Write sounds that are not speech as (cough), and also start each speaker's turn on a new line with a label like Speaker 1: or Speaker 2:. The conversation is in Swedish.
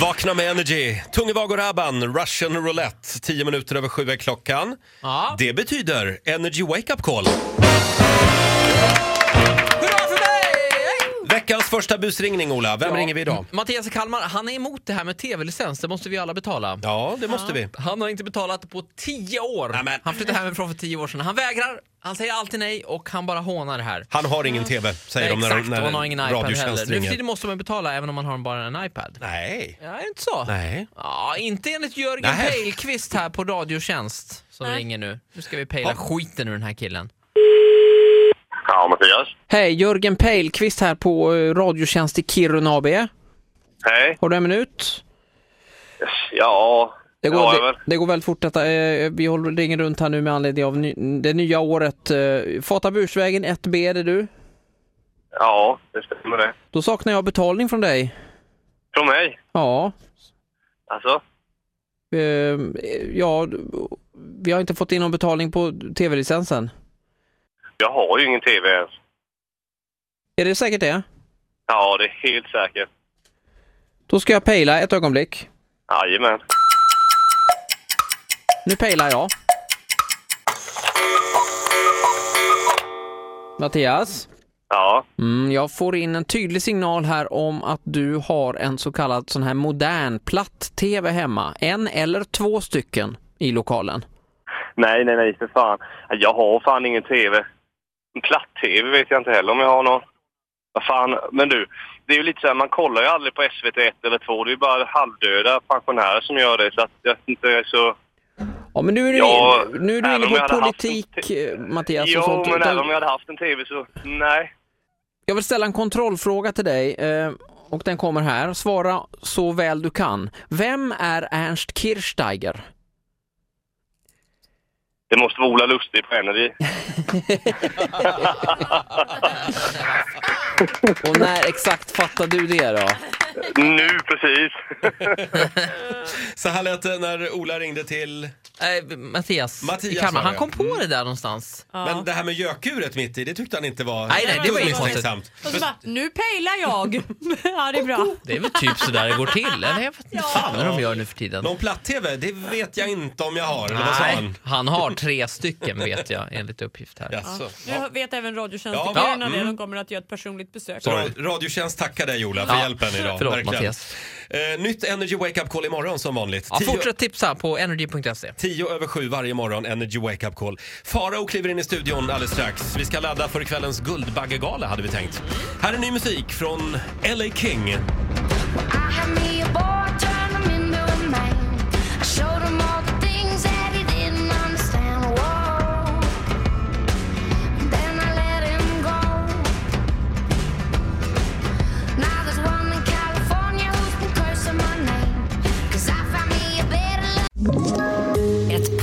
Speaker 1: Vakna med Energy, Tungevag och Rabban, Russian Roulette. 10 minuter över sju är klockan.
Speaker 2: Ja.
Speaker 1: Det betyder Energy Wake Up Call.
Speaker 2: Hurra för mig!
Speaker 1: Veckans första busringning, Ola. Vem ringer vi idag?
Speaker 2: Mattias Kalmar, han är emot det här med tv-licens, det måste vi alla betala.
Speaker 1: Ja, det måste vi.
Speaker 2: Han har inte betalat på tio år.
Speaker 1: Nej, men-
Speaker 2: Han flyttade hemifrån för tio år sedan. Han vägrar, han säger alltid nej och han bara hånar det här.
Speaker 1: Han har ingen TV, säger de
Speaker 2: Nej,
Speaker 1: när,
Speaker 2: Mm. Exakt,
Speaker 1: de- när
Speaker 2: och han har ingen iPad heller.
Speaker 1: Radiotjänst
Speaker 2: Nu för
Speaker 1: ringer.
Speaker 2: tiden måste man betala även om man har bara en iPad.
Speaker 1: Nej.
Speaker 2: Ja, är det inte så?
Speaker 1: Nej.
Speaker 2: Ja, inte enligt Jörgen
Speaker 1: Nej.
Speaker 2: Pejlqvist här på Radiotjänst som
Speaker 3: Nej.
Speaker 2: ringer nu. Nu ska vi pejla
Speaker 1: Ja.
Speaker 2: skiten ur den här killen.
Speaker 4: Ja, Mattias.
Speaker 2: Hej, Jörgen Pejlqvist här på eh, Radiotjänst i Kiruna AB.
Speaker 4: Hej.
Speaker 2: Har du en minut?
Speaker 4: Ja,
Speaker 2: Det går,
Speaker 4: ja, jag
Speaker 2: det,
Speaker 4: väl.
Speaker 2: det går väldigt fort detta. Eh, Vi håller ringer runt här nu med anledning av ny, det nya året. Eh, Fatabursvägen 1B är det du.
Speaker 4: ja, det stämmer det.
Speaker 2: Då saknar jag betalning från dig.
Speaker 4: Från mig?
Speaker 2: Ja,
Speaker 4: Alltså?
Speaker 2: eh, ja vi har inte fått in någon betalning på tv-licensen.
Speaker 4: Jag har ju ingen TV ens.
Speaker 2: Är det säkert det?
Speaker 4: Ja, det är helt säkert.
Speaker 2: Då ska jag pejla ett ögonblick.
Speaker 4: Jajamän.
Speaker 2: Nu pejlar jag. Mattias?
Speaker 4: Ja,
Speaker 2: Mm, jag får in en tydlig signal här om att du har en så kallad sån här modern platt-tv hemma. En eller två stycken i lokalen.
Speaker 4: nej, nej, nej, för fan. Jag har fan ingen TV. En platt-TV vet jag inte heller om jag har någon. Vad fan, men du. Det är ju lite så här, man kollar ju aldrig på SVT 1 eller 2. Det är ju bara halvdöda pensionärer som gör det, så att jag inte är så...
Speaker 2: Ja, men nu är du,
Speaker 4: Ja,
Speaker 2: in, nu är du
Speaker 4: även
Speaker 2: inne
Speaker 4: om jag
Speaker 2: på
Speaker 4: hade haft
Speaker 2: politik,
Speaker 4: en
Speaker 2: eh, Mattias. och
Speaker 4: jo,
Speaker 2: sånt.
Speaker 4: men
Speaker 2: Utan-
Speaker 4: även om jag hade haft en TV så... Nej.
Speaker 2: Jag vill ställa en kontrollfråga till dig eh, och den kommer här. Svara så väl du kan. Vem är Ernst Kirchsteiger?
Speaker 4: Det måste vara Ola Lustig på Energy.
Speaker 2: Och när exakt fattar du det då?
Speaker 4: nu precis.
Speaker 1: Så här lät det när Ola ringde till...
Speaker 2: Eh, Mattias,
Speaker 1: Mattias
Speaker 2: i
Speaker 1: var
Speaker 2: Kalmar.
Speaker 1: det,
Speaker 2: Han
Speaker 1: ja.
Speaker 2: kom på det där någonstans.
Speaker 1: Men det här med gökuret mitt i, det tyckte han inte var...
Speaker 2: Nej, nej, det var ju
Speaker 1: misstänksamt.
Speaker 3: Och så bara, nu pejlar jag! (laughs) ja, det är bra.
Speaker 2: Det är väl typ sådär det går till? Eller jag vet inte fan vad de gör nu för tiden.
Speaker 1: Någon platt-TV, det vet jag inte om jag har. Eller vad sa
Speaker 2: Nej,
Speaker 1: han?
Speaker 2: han har tre stycken vet jag enligt uppgift här.
Speaker 1: Jaså.
Speaker 3: Nu vet även Radiotjänst
Speaker 1: Ja.
Speaker 3: ja.
Speaker 2: Ja,
Speaker 3: det.
Speaker 2: mm.
Speaker 3: De kommer att göra ett personligt besök.
Speaker 1: Ra- Radiotjänst tackar dig Ola för
Speaker 2: Ja.
Speaker 1: hjälpen idag.
Speaker 2: Förlåt,
Speaker 1: Verkligen.
Speaker 2: Mattias.
Speaker 1: Eh, nytt Energy Wake Up Call imorgon som vanligt.
Speaker 2: Ja,
Speaker 1: Tio-
Speaker 2: fortsätt tipsa på energy.se.
Speaker 1: Tio över sju varje morgon, Energy Wake Up Call. Farao kliver in i studion alldeles strax. Vi ska ladda för kvällens Guldbaggegala hade vi tänkt. Här är ny musik från LA King.
Speaker 5: I had me a boy, turned him into a man. I showed him all the things that he didn't understand. Whoa. Then I let him go. Now there's one in California who's been cursing my name. Cause I found me a better
Speaker 6: Ett